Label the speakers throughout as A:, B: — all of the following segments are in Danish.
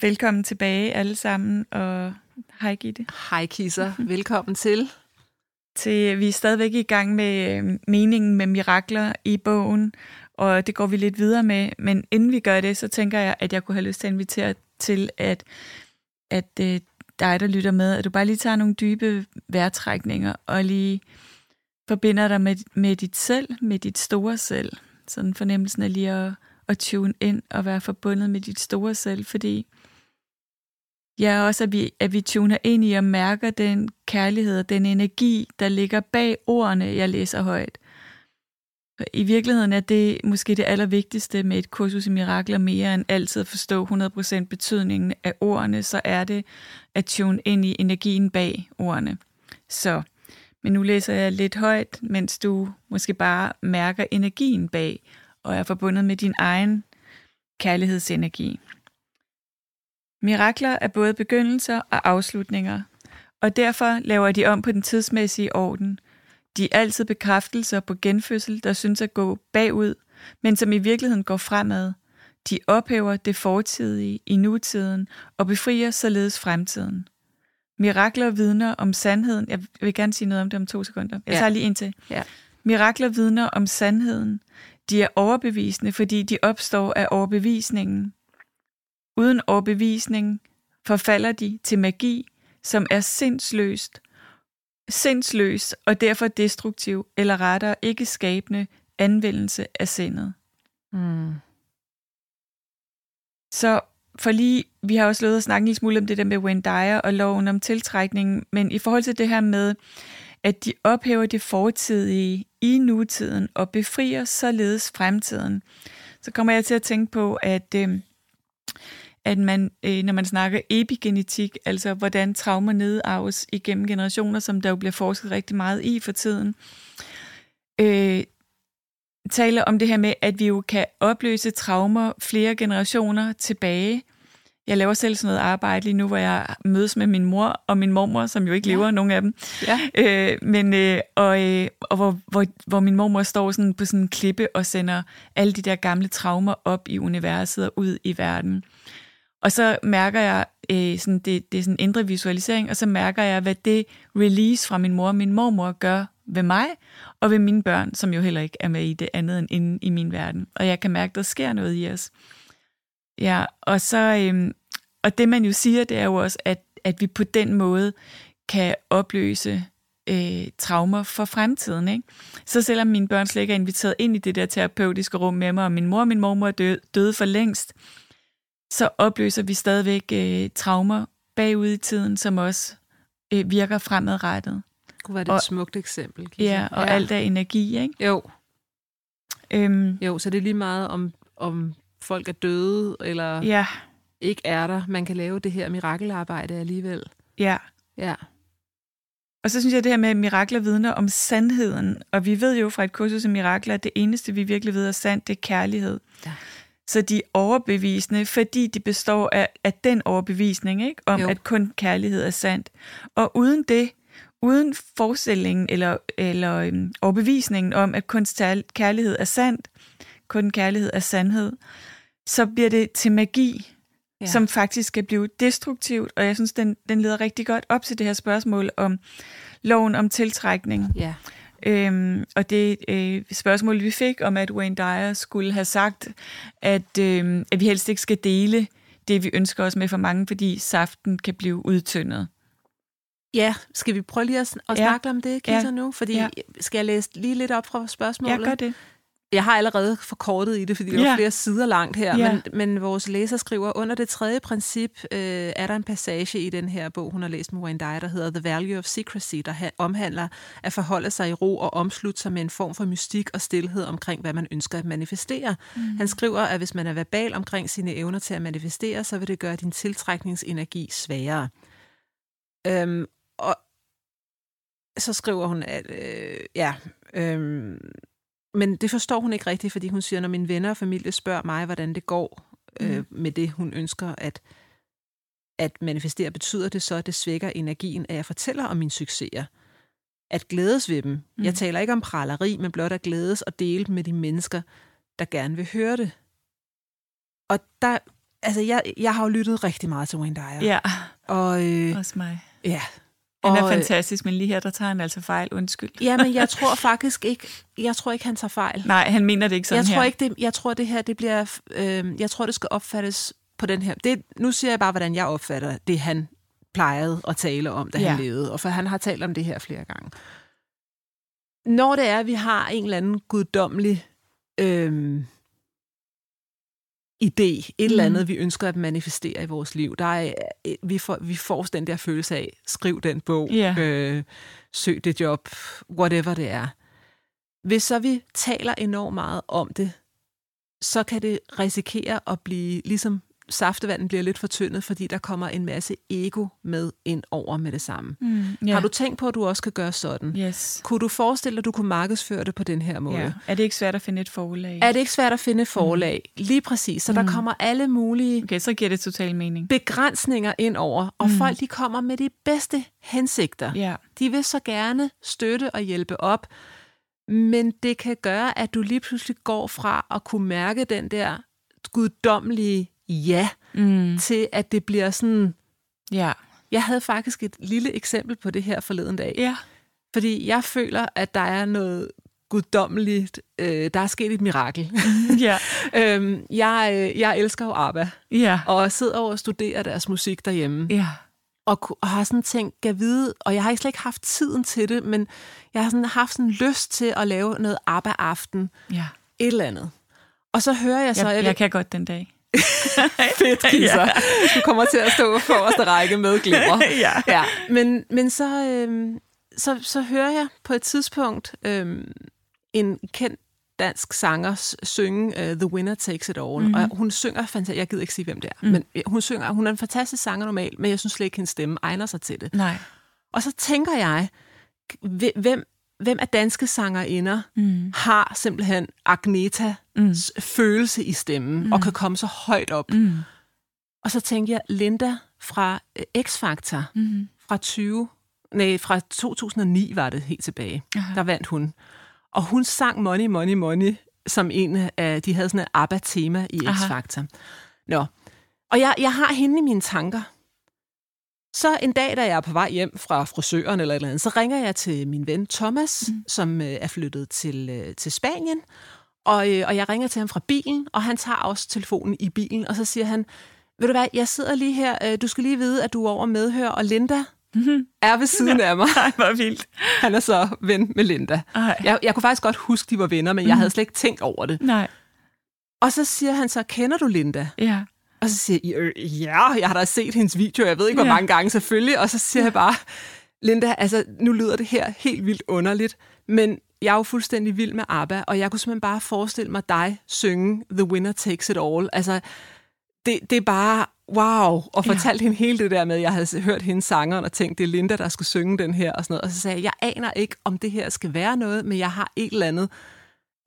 A: Velkommen tilbage alle sammen, og hej Gitte.
B: Hej Kisser, velkommen til.
A: Til, vi er stadigvæk i gang med øh, meningen med mirakler i bogen, og det går vi lidt videre med, men inden vi gør det, så tænker jeg, at jeg kunne have lyst til at invitere til, at, at øh, dig, der lytter med, at du bare lige tager nogle dybe vejrtrækninger og lige forbinder dig med, med dit selv, med dit store selv. Sådan fornemmelsen af lige at, at tune ind og være forbundet med dit store selv, fordi ja, også at vi, at vi tuner ind i og mærker den kærlighed og den energi, der ligger bag ordene, jeg læser højt. Og I virkeligheden er det måske det allervigtigste med et kursus i mirakler mere end altid at forstå 100% betydningen af ordene, så er det at tune ind i energien bag ordene. Så, men nu læser jeg lidt højt, mens du måske bare mærker energien bag og er forbundet med din egen kærlighedsenergi. Mirakler er både begyndelser og afslutninger, og derfor laver de om på den tidsmæssige orden. De er altid bekræftelser på genfødsel, der synes at gå bagud, men som i virkeligheden går fremad. De ophæver det fortidige i nutiden og befrier således fremtiden. Mirakler vidner om sandheden. Jeg vil gerne sige noget om det om to sekunder. Jeg
B: Ja.
A: tager lige en til.
B: Ja.
A: Mirakler vidner om sandheden. De er overbevisende, fordi de opstår af overbevisningen. Uden overbevisning forfalder de til magi, som er sindsløst, sindsløs og derfor destruktiv, eller rettere ikke skabende anvendelse af sindet.
B: Mm.
A: Så for lige, vi har også lovet at snakke en lille smule om det der med Wayne Dyer og loven om tiltrækning, men i forhold til det her med, at de ophæver det fortidige i nutiden og befrier således fremtiden, så kommer jeg til at tænke på, at, øh, at man, øh, når man snakker epigenetik, altså hvordan traumer nedarves igennem generationer, som der jo bliver forsket rigtig meget i for tiden, øh, taler om det her med, at vi jo kan opløse traumer flere generationer tilbage. Jeg laver selv sådan noget arbejde lige nu, hvor jeg mødes med min mor og min mormor, som jo ikke
B: Ja.
A: lever, nogen af dem.
B: Ja.
A: Øh, men, øh, og, øh, og hvor, hvor, hvor min mormor står sådan på sådan en klippe og sender alle de der gamle traumer op i universet og ud i verden. Og så mærker jeg, øh, sådan, det, det er sådan en indre visualisering, og så mærker jeg, hvad det release fra min mor og min mormor gør ved mig, og ved mine børn, som jo heller ikke er med i det andet end inde i min verden. Og jeg kan mærke, der sker noget i os. Ja, og så øhm, og det man jo siger, det er jo også, at, at vi på den måde kan opløse øh, traumer for fremtiden. Ikke? Så selvom mine børn slet ikke er inviteret ind i det der terapeutiske rum med mig, og min mor og min mormor er døde, døde for længst, så opløser vi stadigvæk øh, traumer bagud i tiden, som også øh, virker fremadrettet.
B: Gud, var det et
A: Og-
B: smukt eksempel. Kisser.
A: Ja, og ja. alt er energi, ikke?
B: Jo,
A: Øhm,
B: jo, så det er lige meget om, om folk er døde eller
A: ja,
B: ikke er der. Man kan lave det her mirakelarbejde alligevel.
A: ja.
B: Ja.
A: Og så synes jeg det her med, at mirakler vidner om sandheden. Og vi ved jo fra et kursus i mirakler, at det eneste, vi virkelig ved er sandt, det er kærlighed.
B: Ja.
A: Så de er overbevisende, fordi de består af, af den overbevisning, ikke? om
B: Jo.
A: jo. at kun kærlighed er sandt. Og uden det, uden forestillingen eller, eller øhm, overbevisningen om, at kun sal- kærlighed er sandt, kun kærlighed er sandhed, så bliver det til magi,
B: Ja.
A: ja. som faktisk kan blive destruktivt. Og jeg synes, den, den leder rigtig godt op til det her spørgsmål om loven om tiltrækning.
B: Ja.
A: Øhm, og det øh, spørgsmål, vi fik om, at Wayne Dyer skulle have sagt, at, øh, at vi helst ikke skal dele det, vi ønsker os med for mange, fordi saften kan blive udtyndet.
B: Ja, skal vi prøve lige at, sn- at
A: Ja.
B: snakke om det, Kisser,
A: Ja.
B: nu? Fordi
A: Ja.
B: skal jeg læse lige lidt op fra spørgsmålet?
A: Jeg gør det.
B: Jeg har allerede forkortet i det, fordi der er
A: Ja.
B: flere sider langt her,
A: Ja.
B: men, men vores læser skriver, under det tredje princip øh, er der en passage i den her bog, hun har læst med Wayne Dyer, der hedder The Value of Secrecy, der ha- omhandler at forholde sig i ro og omslutte sig med en form for mystik og stillhed omkring, hvad man ønsker at manifestere. Mm. Han skriver, at hvis man er verbal omkring sine evner til at manifestere, så vil det gøre din tiltrækningsenergi sværere. Øhm, og så skriver hun, at øh, ja... Øhm, men det forstår hun ikke rigtigt, fordi hun siger, når mine venner og familie spørger mig, hvordan det går øh, med det, hun ønsker at, at manifestere, betyder det så, at det svækker energien, at jeg fortæller om mine succeser. At glædes ved dem. Mm. Jeg taler ikke om praleri, men blot at glædes og dele dem med de mennesker, der gerne vil høre det. Og der, altså jeg, jeg har jo lyttet rigtig meget til Wayne Dyer.
A: Ja,
B: Og, øh,
A: også mig.
B: ja.
A: Han er
B: Og, øh,
A: fantastisk, men lige her, der tager han altså fejl. Undskyld.
B: Ja, men jeg tror faktisk ikke, jeg tror ikke, han tager fejl.
A: Nej, han mener det ikke sådan
B: jeg
A: her.
B: tror ikke det, jeg tror det her det bliver øh, jeg tror det skal opfattes på den her. Det, nu siger jeg bare hvordan jeg opfatter det han plejede at tale om, da ja.
A: Ja.
B: han levede, og for han har talt om det her flere gange. Når det er, at vi har en eller anden guddommelig øh, idé, et eller
A: Mm.
B: andet, vi ønsker at manifestere i vores liv, der er, øh, vi, får, vi får den der følelse af, skriv den bog,
A: Ja.
B: øh, søg det job, whatever det er hvis så vi taler enormt meget om det, så kan det risikere at blive, ligesom saftevandet bliver lidt fortyndet, fordi der kommer en masse ego med ind over med det samme.
A: Mm, ja.
B: Ja. Har du tænkt på, at du også kan gøre sådan? Ja.
A: Yes.
B: Kunne du forestille dig, at du kunne markedsføre det på den her måde?
A: Ja.
B: Ja.
A: Er det ikke svært at finde et forlag?
B: Er det ikke svært at finde et forlag?
A: Mm.
B: Lige præcis. Så der kommer alle mulige
A: Okay, så giver det total mening.
B: begrænsninger ind over, og mm. folk de kommer med de bedste hensigter.
A: Ja.
B: De vil så gerne støtte og hjælpe op, men det kan gøre, at du lige pludselig går fra at kunne mærke den der guddommelige ja,
A: Mm.
B: til at det bliver sådan...
A: Ja.
B: Jeg havde faktisk et lille eksempel på det her forleden dag,
A: Ja.
B: fordi jeg føler, at der er noget guddommeligt. Øh, der er sket et mirakel.
A: Ja.
B: øhm, jeg, øh, jeg elsker jo ABBA,
A: Ja.
B: og sidder over og studerer deres musik derhjemme.
A: Ja.
B: og, ku- og har sådan tænkt, kan vide, og jeg har ikke slet ikke haft tiden til det, men jeg har sådan haft sådan lyst til at lave noget ABBA-aften,
A: Ja.
B: et eller andet. Og så hører jeg så,
A: Jeg,
B: at
A: jeg kan godt den dag.
B: fedt, Kisser. Du kommer til at stå forreste række med glimmer.
A: Ja.
B: ja. Men, men så, øhm, så, så hører jeg på et tidspunkt øhm, en kendt dansk sanger s- synge uh, The Winner Takes It All.
A: Mhm.
B: Mm-hmm. Og hun synger fantastisk. Jeg gider ikke sige, hvem det er. Mm. Men hun, synger, hun er en fantastisk sanger normalt, men jeg synes slet ikke, hendes stemme egner sig til det.
A: Nej.
B: Og så tænker jeg, hve- hvem, hvem af danske sangerinder mm. har simpelthen Agnetas mm. følelse i stemmen mm. og kan komme så højt op? Mm. Og så tænker jeg, Linda fra øh, X-Factor mm. fra 20, nej, fra 2009 var det helt tilbage. Aha. Der vandt hun. Og hun sang Money, Money, Money, som en af, de havde sådan et ABBA-tema i X-Factor. Nå, og jeg, jeg har hende i mine tanker. Så en dag, da jeg er på vej hjem fra frisøren eller et eller andet, så ringer jeg til min ven Thomas, mm. som øh, er flyttet til, øh, til Spanien. Og, øh, og jeg ringer til ham fra bilen, og han tager også telefonen i bilen, og så siger han, ved du hvad, jeg sidder lige her, øh, du skal lige vide, at du er over medhør, og Linda mm-hmm. er ved siden af mig.
A: Nej, hvor vildt.
B: Han er så ven med Linda.
A: Ej.
B: Jeg, jeg kunne faktisk godt huske, de var venner, men jeg havde slet ikke tænkt over det.
A: Nej.
B: Og så siger han så, kender du Linda?
A: Ja.
B: Og så siger jeg, "Øh, ja, jeg har da set hendes video, jeg ved ikke, hvor
A: Ja.
B: mange gange selvfølgelig. Og så siger jeg bare, Linda, altså nu lyder det her helt vildt underligt, men jeg er jo fuldstændig vild med ABBA, og jeg kunne simpelthen bare forestille mig dig synge The Winner Takes It All. Altså, det, det er bare wow, og fortalte ja. hende hele det der med, at jeg havde hørt hende sangeren og tænkt, det er Linda, der skulle synge den her og sådan noget. Og så sagde jeg, jeg aner ikke, om det her skal være noget, men jeg har et eller andet,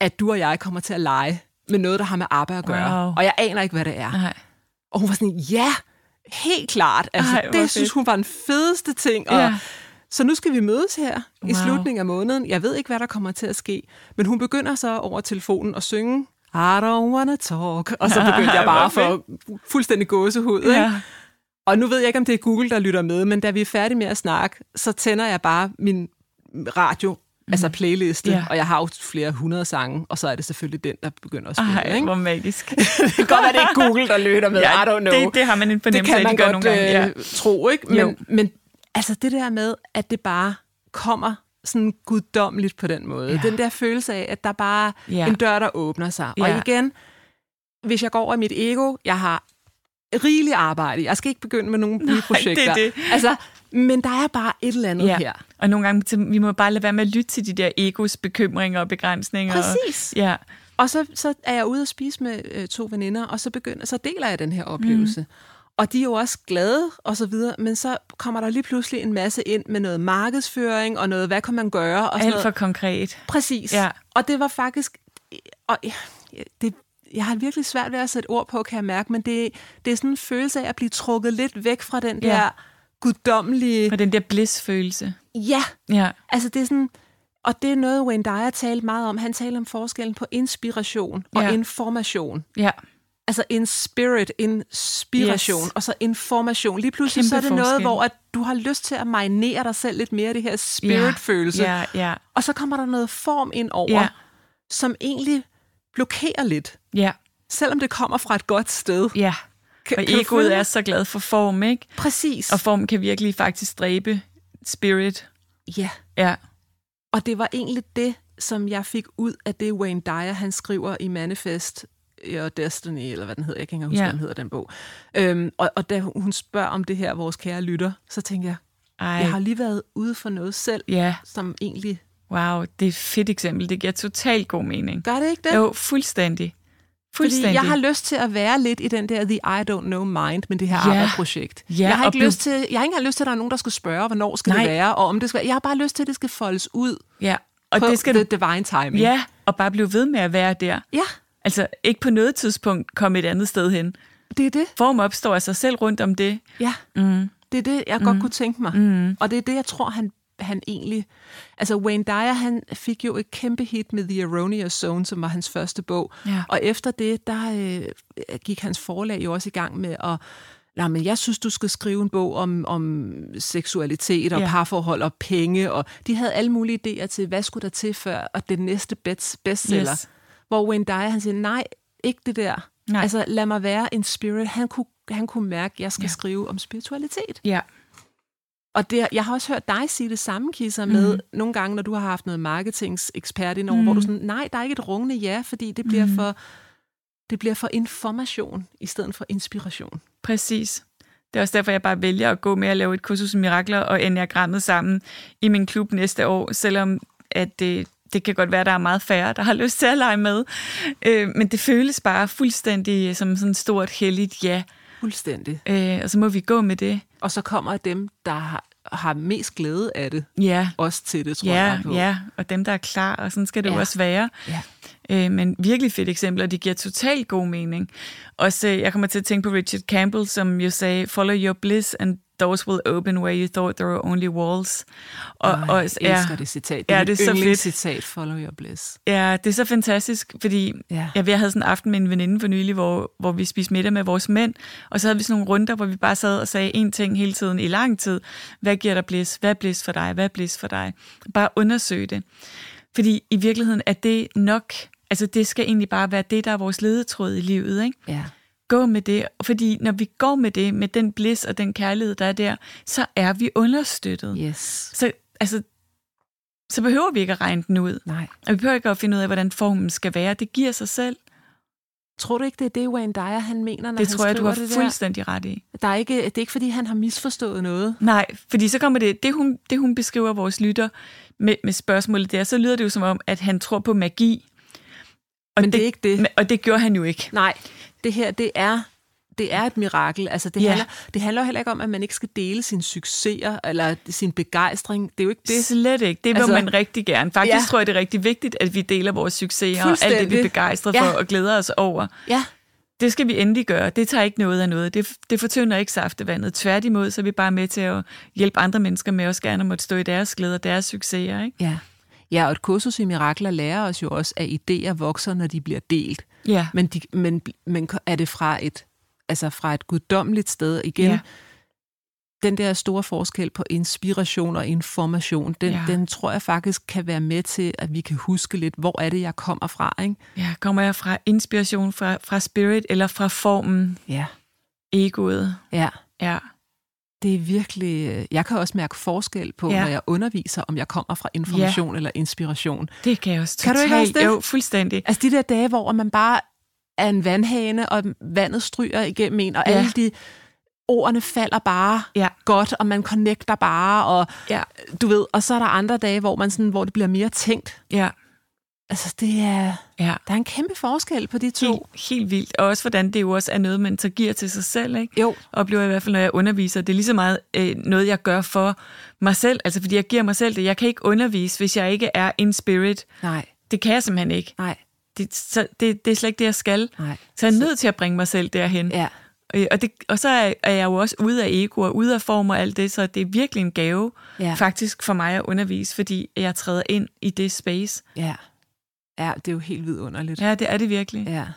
B: at du og jeg kommer til at lege med noget, der har med ABBA at gøre.
A: Wow.
B: Og jeg aner ikke, hvad det er.
A: Nej.
B: Og hun var sådan, ja, helt klart. Altså,
A: Ej,
B: Ej,
A: hvor
B: det fedt. synes
A: fedt.
B: hun var den fedeste ting. Og,
A: Ja.
B: Så nu skal vi mødes her wow. i
A: Wow.
B: slutningen af måneden. Jeg ved ikke, hvad der kommer til at ske. Men hun begynder så over telefonen at synge I don't wanna talk. Og så begyndte jeg bare
A: hvor fedt.
B: for fuldstændig gåsehud. Ja.
A: Ja.
B: Ikke? Og nu ved jeg ikke, om det er Google, der lytter med, men da vi er færdige med at snakke, så tænder jeg bare min radio, mm. altså playliste,
A: Mhm. Ja.
B: og jeg har jo flere hundrede sange, og så er det selvfølgelig den, der begynder at spille.
A: Ej,
B: ikke?
A: hvor magisk.
B: Det kan godt være, det er ikke Google, der lytter med. I don't know
A: Det, det har man en fornemmelse af, de gør nogle gange. Ja.
B: øh, tro, ikke?
A: Jo.
B: Men, men Altså det der med, at det bare kommer sådan guddommeligt på den måde.
A: Ja.
B: Ja. Den der følelse af, at der bare
A: Ja.
B: ja. en dør, der åbner sig. Ja.
A: Ja.
B: Og igen, hvis jeg går over i mit ego, jeg har rigeligt arbejde. Jeg skal ikke begynde med nogle nye projekter.
A: det.
B: Altså, men der er bare et eller andet ja. her.
A: Og nogle gange, til- vi må bare lade være med at lytte til de der egos bekymringer og begrænsninger.
B: Præcis.
A: Og, ja,
B: Og så, så er jeg ude og spise med øh, to veninder, og så, begynder, så deler jeg den her oplevelse. Mm. Og de er jo også glade og så videre, men så kommer der lige pludselig en masse ind med noget markedsføring og noget, hvad kan man gøre? Og sådan
A: alt
B: noget.
A: for konkret.
B: Præcis.
A: Ja.
B: Og det var faktisk... Og ja, det, jeg har virkelig svært ved at sætte ord på, kan jeg mærke, men det, det er sådan en følelse af at blive trukket lidt væk fra den
A: Ja.
B: ja. der guddommelige...
A: Og den der bliss-følelse.
B: Ja,
A: Ja,
B: altså det er sådan... Og det er noget, Wayne Dyer talte meget om. Han talte om forskellen på inspiration og
A: Ja.
B: ja. information.
A: ja.
B: Altså en spirit, inspiration,
A: Yes.
B: yes. og så information. Lige pludselig
A: Kæmpe
B: så er det noget,
A: forskel.
B: hvor at du har lyst til at marinere dig selv lidt mere i det her spirit-følelse.
A: Ja, ja,
B: Og så kommer der noget form ind over,
A: Ja.
B: ja. som egentlig blokerer lidt,
A: ja,
B: selvom det kommer fra et godt sted.
A: ja.
B: Kan-
A: Og
B: kan du følge
A: egoet
B: mig?
A: er så glad for form, ikke?
B: Præcis.
A: Og form kan virkelig faktisk dræbe spirit.
B: ja.
A: Ja,
B: Og det var egentlig det, som jeg fik ud af det, Wayne Dyer han skriver i Manifest øh, og Destiny, eller hvad den hedder, jeg kan ikke engang huske,
A: Ja.
B: ja. hvad den hedder, den bog. Øhm, og, og da hun spørger om det her, vores kære lytter, så tænker jeg,
A: ej,
B: jeg har lige været ude for noget selv,
A: ja,
B: som egentlig...
A: wow, det er et fedt eksempel. Det giver totalt god mening.
B: Gør det ikke det?
A: Jo, fuldstændig.
B: Fordi
A: Fuldstændig.
B: jeg har lyst til at være lidt i den der The I Don't Know Mind med det her
A: Ja.
B: arbejdsprojekt.
A: Ja,
B: jeg, har
A: og
B: ikke
A: blive-
B: lyst til, jeg har ikke engang lyst til, at der er nogen, der skal spørge, hvornår skal
A: Nej.
B: det være, og om det skal være. Jeg har bare lyst til, at det skal foldes ud
A: Ja, og
B: på
A: det skal
B: the
A: du...
B: divine timing.
A: Ja, og bare blive ved med at være der.
B: ja,
A: Altså, ikke på noget tidspunkt komme et andet sted hen.
B: det er det.
A: Form opstår af sig selv rundt om det.
B: Ja. Mm. Det er det, jeg mm. godt kunne tænke mig. Mm. Og det er det, jeg tror, han, han egentlig... Altså, Wayne Dyer, han fik jo et kæmpe hit med The Erroneous Zone, som var hans første bog.
A: Ja.
B: Og efter det, der øh, gik hans forlag jo også i gang med at... Nej, men jeg synes, du skal skrive en bog om, om seksualitet og
A: Ja.
B: ja. parforhold og penge. Og de havde alle mulige idéer til, hvad skulle der til før, og det næste best- bestseller.
A: Yes.
B: Yes. Hvor Wayne Dyer, han siger, nej, ikke det der.
A: Nej.
B: Nej. Altså, lad mig være en spirit. Han kunne, han kunne mærke, at jeg skal ja. skrive om spiritualitet.
A: Ja,
B: Og det, jeg har også hørt dig sige det samme, Kisser,
A: Mhm.
B: med mm. nogle gange, når du har haft noget marketingsekspert ind over, mm. hvor du sådan, nej, der er ikke et rungende ja, fordi det bliver,
A: Mhm.
B: mm. for, det bliver for information i stedet for inspiration.
A: præcis. Det er også derfor, jeg bare vælger at gå med at lave et kursus i mirakler og enagrammet sammen i min klub næste år, selvom at det, det kan godt være, at der er meget færre, der har lyst til at lege med. Øh, men det føles bare fuldstændig som sådan et stort, heldigt ja.
B: Fuldstændig.
A: Øh, og så må vi gå med det.
B: Og så kommer dem, der har, har mest glæde af det,
A: Ja,
B: også til det, tror
A: ja,
B: jeg på.
A: ja. Og dem, der er klar, og sådan skal det ja. jo
B: Ja.
A: også være.
B: ja.
A: Øh, men virkelig fedt eksempel, og det giver totalt god mening. Også, øh, jeg kommer til at tænke på Richard Campbell, som jo sagde, follow your bliss, and doors will open where you thought there were only walls. Og,
B: Ej, jeg elsker
A: ja,
B: det citat.
A: Ja,
B: mit
A: det er så fedt.
B: yndlingscitat, follow your bliss.
A: Ja, det er så fantastisk, fordi ja.
B: Ja.
A: jeg, jeg havde sådan en aften med en veninde for nylig, hvor, hvor vi spiste middag med vores mænd, og så havde vi sådan nogle runder, hvor vi bare sad og sagde én ting hele tiden i lang tid. Hvad giver dig blæs? Hvad er blæs for dig? Hvad er blæs for dig? Bare undersøg det. Fordi i virkeligheden er det nok, altså det skal egentlig bare være det, der er vores ledetråd i livet, ikke?
B: Ja.
A: Gå med det, fordi når vi går med det, med den blæs og den kærlighed, der er der, så er vi understøttet.
B: Yes.
A: Så, altså, så behøver vi ikke at regne den ud.
B: Nej.
A: Og vi behøver ikke at finde ud af, hvordan formen skal være. Det giver sig selv.
B: Tror du ikke, det er det, Wayne Dyer han mener, når
A: det
B: han
A: tror jeg, du
B: skriver
A: har
B: det der?
A: fuldstændig ret i.
B: Der er ikke, det er ikke, fordi han har misforstået noget.
A: Nej, fordi så kommer det, det hun, det hun beskriver vores lytter med, med spørgsmålet der, så lyder det jo som om, at han tror på magi. Og
B: Men det er ikke det.
A: men- Og det gjorde han jo ikke.
B: Nej, det her, det er, det er et mirakel. Altså, det,
A: Ja.
B: ja. handler, det handler jo heller ikke om, at man ikke skal dele sine succeser eller sin begejstring. Det er jo ikke
A: Det,
B: det.
A: Slet ikke. Det vil altså,
B: Altså-
A: man rigtig gerne. Faktisk ja.
B: Ja.
A: tror jeg, det er rigtig vigtigt, at vi deler vores succeser og alt det, vi er
B: Fuldstændig.
A: begejstret
B: Ja.
A: for og glæder os over.
B: Ja,
A: Det skal vi endelig gøre. Det tager ikke noget af noget. Det, det fortynder ikke saftevandet. Tværtimod, så er vi bare med til at hjælpe andre mennesker med også gerne at måtte stå i deres glæder og deres succeser. Ikke?
B: ja. Ja, og et kursus i mirakler lærer os jo også, at idéer vokser, når de bliver delt.
A: Ja.
B: Men, de, men, men er det fra et, altså fra et guddommeligt sted igen?
A: Ja.
B: Ja. Den der store forskel på inspiration og information, den,
A: Ja.
B: ja. den tror jeg faktisk kan være med til, at vi kan huske lidt, hvor er det, jeg kommer fra, ikke?
A: Ja, kommer jeg fra inspiration, fra, fra spirit eller fra formen,
B: Ja.
A: egoet?
B: Ja.
A: Ja,
B: det er virkelig... øh, Jeg kan også mærke forskel på,
A: Ja.
B: ja. når jeg underviser, om jeg kommer fra information ja. eller inspiration.
A: Det kan jeg også
B: Kan
A: totalt.
B: du ikke også det?
A: Jo, fuldstændig.
B: Altså de der dage, hvor man bare er en vandhane, og vandet stryger igennem en, og
A: Ja.
B: ja. alle de ordene falder bare
A: Ja.
B: godt, og man connecter bare, og
A: Ja.
B: du ved, og så er der andre dage, hvor man sådan, hvor det bliver mere tænkt.
A: Ja,
B: Altså det er,
A: ja.
B: der er en kæmpe forskel på de to.
A: Helt, helt vildt. Og også hvordan det jo også er noget, man så giver til sig selv, ikke?
B: Jo,
A: oplever jeg i hvert fald, når jeg underviser. Det er lige så meget øh, noget, jeg gør for mig selv, altså fordi jeg giver mig selv det. Jeg kan ikke undervise, hvis jeg ikke er in spirit.
B: nej,
A: Det kan jeg simpelthen ikke.
B: nej,
A: Det, så, det, det er slet ikke det, jeg skal.
B: nej.
A: Så jeg er nødt til at bringe mig selv derhen.
B: Ja,
A: Øh, Og, det, og så er, er jeg jo også ude af ego og ude af form og alt det, så det er virkelig en gave
B: ja,
A: faktisk for mig at undervise, fordi jeg træder ind i det space.
B: ja. Ja, det er jo helt vidunderligt.
A: Ja, det er det virkelig.
B: Ja.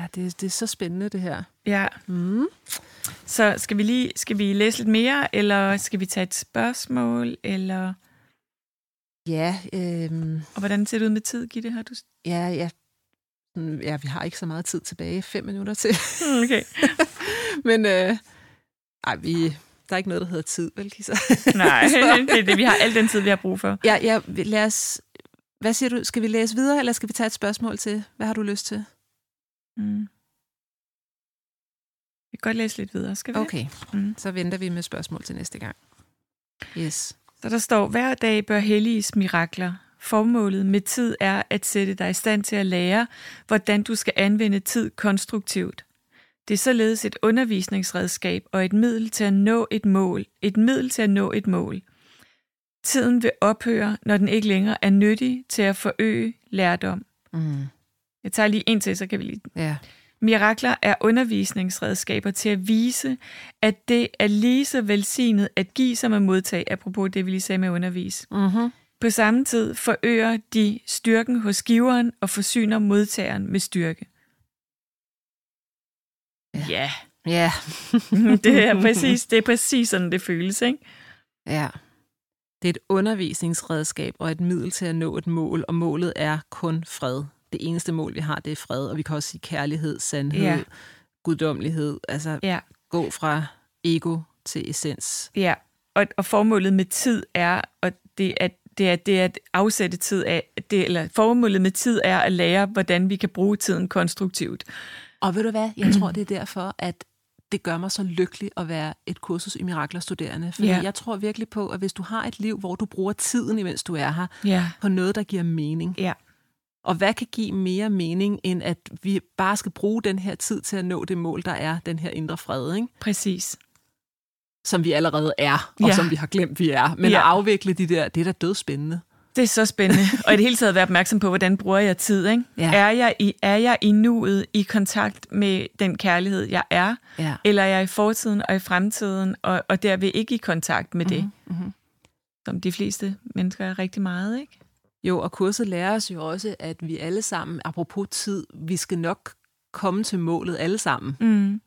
B: Ja, det, det er så spændende, det her.
A: Ja.
B: Mm.
A: Så skal vi lige skal vi læse lidt mere, eller skal vi tage et spørgsmål, eller
B: Ja, øhm,
A: og hvordan ser det ud med tid, Gitte? Har du
B: ja, ja. Mm, ja, vi har ikke så meget tid tilbage. Fem minutter til.
A: Hmm, Okay.
B: Men øh, ej, vi, der er ikke noget, der hedder tid, vel, Kisa?
A: Nej, det er det, vi har al den tid, vi har brug for.
B: Ja, ja, vi- lad os... Hvad siger du? Skal vi læse videre, eller skal vi tage et spørgsmål til? Hvad har du lyst til?
A: Mm. Vi kan godt læse lidt videre, skal vi?
B: Okay,
A: Mm.
B: så venter vi med spørgsmål til næste gang. Yes.
A: Så der står, hver dag bør helliges mirakler. Formålet med tid er at sætte dig i stand til at lære, hvordan du skal anvende tid konstruktivt. Det er således et undervisningsredskab og et middel til at nå et mål. Et middel til at nå et mål. Tiden vil ophøre, når den ikke længere er nyttig til at forøge lærdom.
B: Mm.
A: Jeg tager lige en til, så kan vi lige
B: Ja.
A: Mirakler er undervisningsredskaber til at vise, at det er lige så velsignet at give som at modtage, apropos det, vi lige sagde med undervis.
B: Mm-hmm.
A: På samme tid forøger de styrken hos giveren og forsyner modtageren med styrke. Ja,
B: Ja. Ja.
A: det er præcis, det er præcis sådan, det føles, ikke?
B: Ja. Det er et undervisningsredskab og et middel til at nå et mål, og målet er kun fred. Det eneste mål, vi har, det er fred, og vi kan også sige kærlighed, sandhed,
A: Ja.
B: ja. guddommelighed. Altså
A: Ja.
B: gå fra ego til essens.
A: Ja, og, og formålet med tid er, og det er, det er, det er at afsætte tid af, det, eller formålet med tid er at lære, hvordan vi kan bruge tiden konstruktivt.
B: Og ved du hvad? Jeg tror, det er derfor, at det gør mig så lykkelig at være et kursus i miraklerstuderende. Fordi
A: Ja.
B: jeg tror virkelig på, at hvis du har et liv, hvor du bruger tiden, imens du er her,
A: Ja,
B: på noget, der giver mening,
A: ja.
B: Og hvad kan give mere mening, end at vi bare skal bruge den her tid til at nå det mål, der er den her indre fred, ikke?
A: Præcis.
B: som vi allerede er, og
A: Ja.
B: ja. som vi har glemt, vi er. Men
A: Ja.
B: ja. at afvikle de der, det er da dødspændende.
A: Det er så spændende. Og i det hele taget være opmærksom på, hvordan bruger jeg tid, ikke?
B: Ja.
A: Er, jeg i, er jeg i nuet i kontakt med den kærlighed, jeg er?
B: Ja.
A: Eller er jeg i fortiden og i fremtiden, og, og derved ikke i kontakt med det? Mm-hmm. Som de fleste mennesker er rigtig meget, ikke?
B: Jo, og kurset lærer os jo også, at vi alle sammen, apropos tid, vi skal nok komme til målet alle sammen.
A: Mm.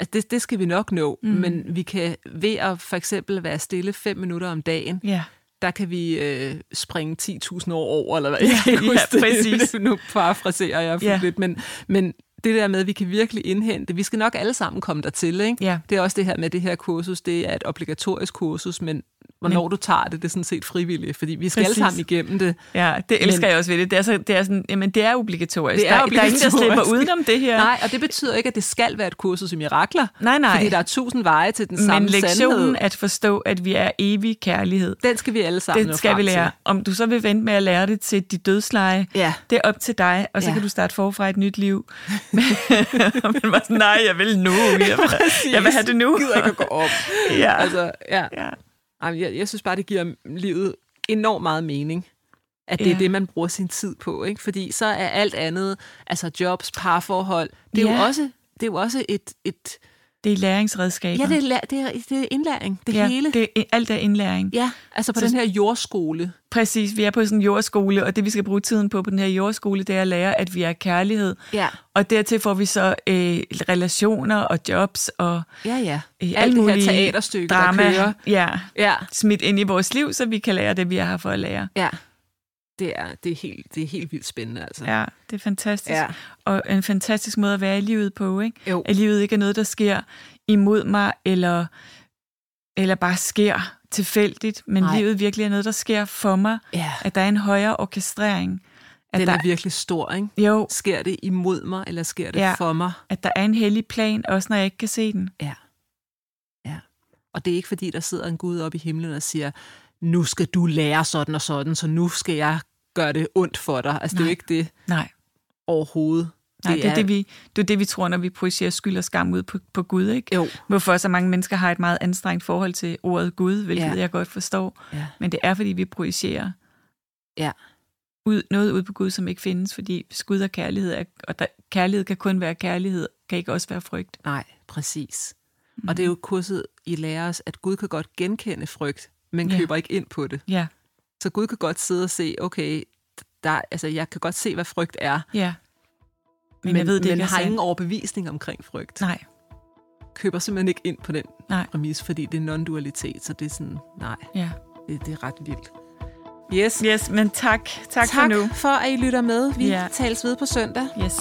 B: Altså det, det skal vi nok nå, mm. men vi kan ved at for eksempel være stille fem minutter om dagen,
A: Ja.
B: der kan vi øh, springe 10.000 år over, eller hvad
A: Ja,
B: jeg kan
A: ja,
B: huske det.
A: præcis.
B: Nu parafraserer jeg
A: Ja.
B: ja. lidt, men, men det der med, at vi kan virkelig indhente, vi skal nok alle sammen komme dertil, ikke?
A: Ja.
B: Det er også det her med, at det her kursus, det er et obligatorisk kursus, men hvornår men. du tager det, det er sådan set frivilligt, fordi vi skal
A: Præcis.
B: alle sammen igennem det.
A: Ja, det elsker
B: Men-
A: jeg også ved det. Det er, så, det er sådan, jamen det er obligatorisk.
B: Det er
A: der, der er ingen, der slipper
B: obligatorisk.
A: udenom det her.
B: Ja. Nej, og det betyder ikke, at det skal være et kursus i mirakler,
A: nej. nej.
B: fordi der er tusind veje til den
A: Men
B: samme
A: lektionen
B: sandhed.
A: at forstå, at vi er evig kærlighed,
B: Den skal vi alle sammen nå
A: det skal vi
B: frem til.
A: lære. Om du så vil vente med at lære det til dit dødsleje,
B: Ja.
A: det er op til dig, og så ja.
B: Ja.
A: kan du starte forfra i et nyt liv. Men var sådan, nej, jeg vil nu. Jeg vil, jeg vil have det nu.
B: Jeg gider ikke at gå op.
A: Ja.
B: Altså, ja.
A: Ja.
B: Jamen, jeg, jeg synes bare, det giver livet enormt meget mening, at det ja.
A: Ja.
B: er det, man bruger sin tid på. Ikke? Fordi så er alt andet, altså jobs, parforhold, det er
A: Ja.
B: jo også... Det er jo også et... et
A: Det er læringsredskaber.
B: ja, det er, la- det, er, det er indlæring. Det ja, hele. Det,
A: Det er, alt er indlæring.
B: ja, altså på
A: Så-
B: så, den her jordskole.
A: Præcis, vi er på sådan en jordskole, og det vi skal bruge tiden på på den her jordskole, det er at lære, at vi er kærlighed.
B: Ja,
A: Og dertil får vi så øh, relationer og jobs og
B: ja, ja.
A: øh,
B: Alt
A: alle
B: det her
A: mulige
B: teaterstykke,
A: drama,
B: der kører.
A: Ja,
B: Ja,
A: smidt ind i vores liv, så vi kan lære det, vi er her for at lære.
B: ja. Det er, det, er helt, det er helt vildt spændende, altså.
A: Ja, det er fantastisk.
B: Ja.
A: Og en fantastisk måde at være i livet på, ikke?
B: Jo.
A: At livet ikke er noget, der sker imod mig, eller eller bare sker tilfældigt, men
C: Nej.
A: Nej. livet virkelig er noget, der sker for mig,
C: Ja.
A: at der er en højere orkestrering. At
B: Den
A: der,
B: er virkelig stor, ikke?
A: jo,
B: Sker det imod mig, eller sker det ja.
A: Ja.
B: for mig?
A: at der er en hellig plan, også når jeg ikke kan se den.
B: Ja. ja. Og det er ikke fordi, der sidder en Gud oppe i himlen og siger, nu skal du lære sådan og sådan, så nu skal jeg gøre det ondt for dig. Altså, Nej. det
A: Nej.
B: er jo ikke det
A: Nej,
B: overhovedet.
A: Nej det, er det, vi, det er det, vi tror, når vi projicerer skyld og skam ud på, på Gud. Ikke?
B: Jo.
A: Hvorfor så mange mennesker har et meget anstrengt forhold til ordet Gud, hvilket
B: Ja.
A: ja. jeg godt forstår.
B: Ja.
A: Men det er, fordi vi projicerer
B: Ja.
A: ud, noget ud på Gud, som ikke findes, fordi skud og kærlighed, er, og der, kærlighed kan kun være kærlighed, kan ikke også være frygt.
B: Nej, præcis. Mm. Og det er jo kurset, I lærer os, at Gud kan godt genkende frygt, men
A: Ja.
B: køber ikke ind på det.
A: Ja,
B: Så Gud kan godt sidde og se, okay, der, altså, jeg kan godt se, hvad frygt er,
A: ja. Men, men jeg ved, det
B: men
A: ikke er
B: har
A: sandt.
B: ingen overbevisning omkring frygt.
A: Nej,
B: Køber simpelthen ikke ind på den
A: nej,
B: præmis, fordi det er non-dualitet, så det er sådan, nej,
A: ja.
B: det, det er ret vildt. Yes.
A: Yes, men tak. Tak, tak. for nu.
B: for at I lytter med. Vi
A: Ja.
B: tales ved på søndag.
A: Yes.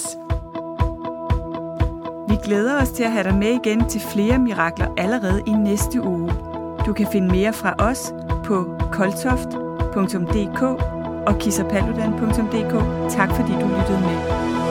A: Vi glæder os til at have dig med igen til flere mirakler allerede i næste uge. Du kan finde mere fra os på koltoft.dk og kissapaludan.dk. Tak fordi du lyttede med.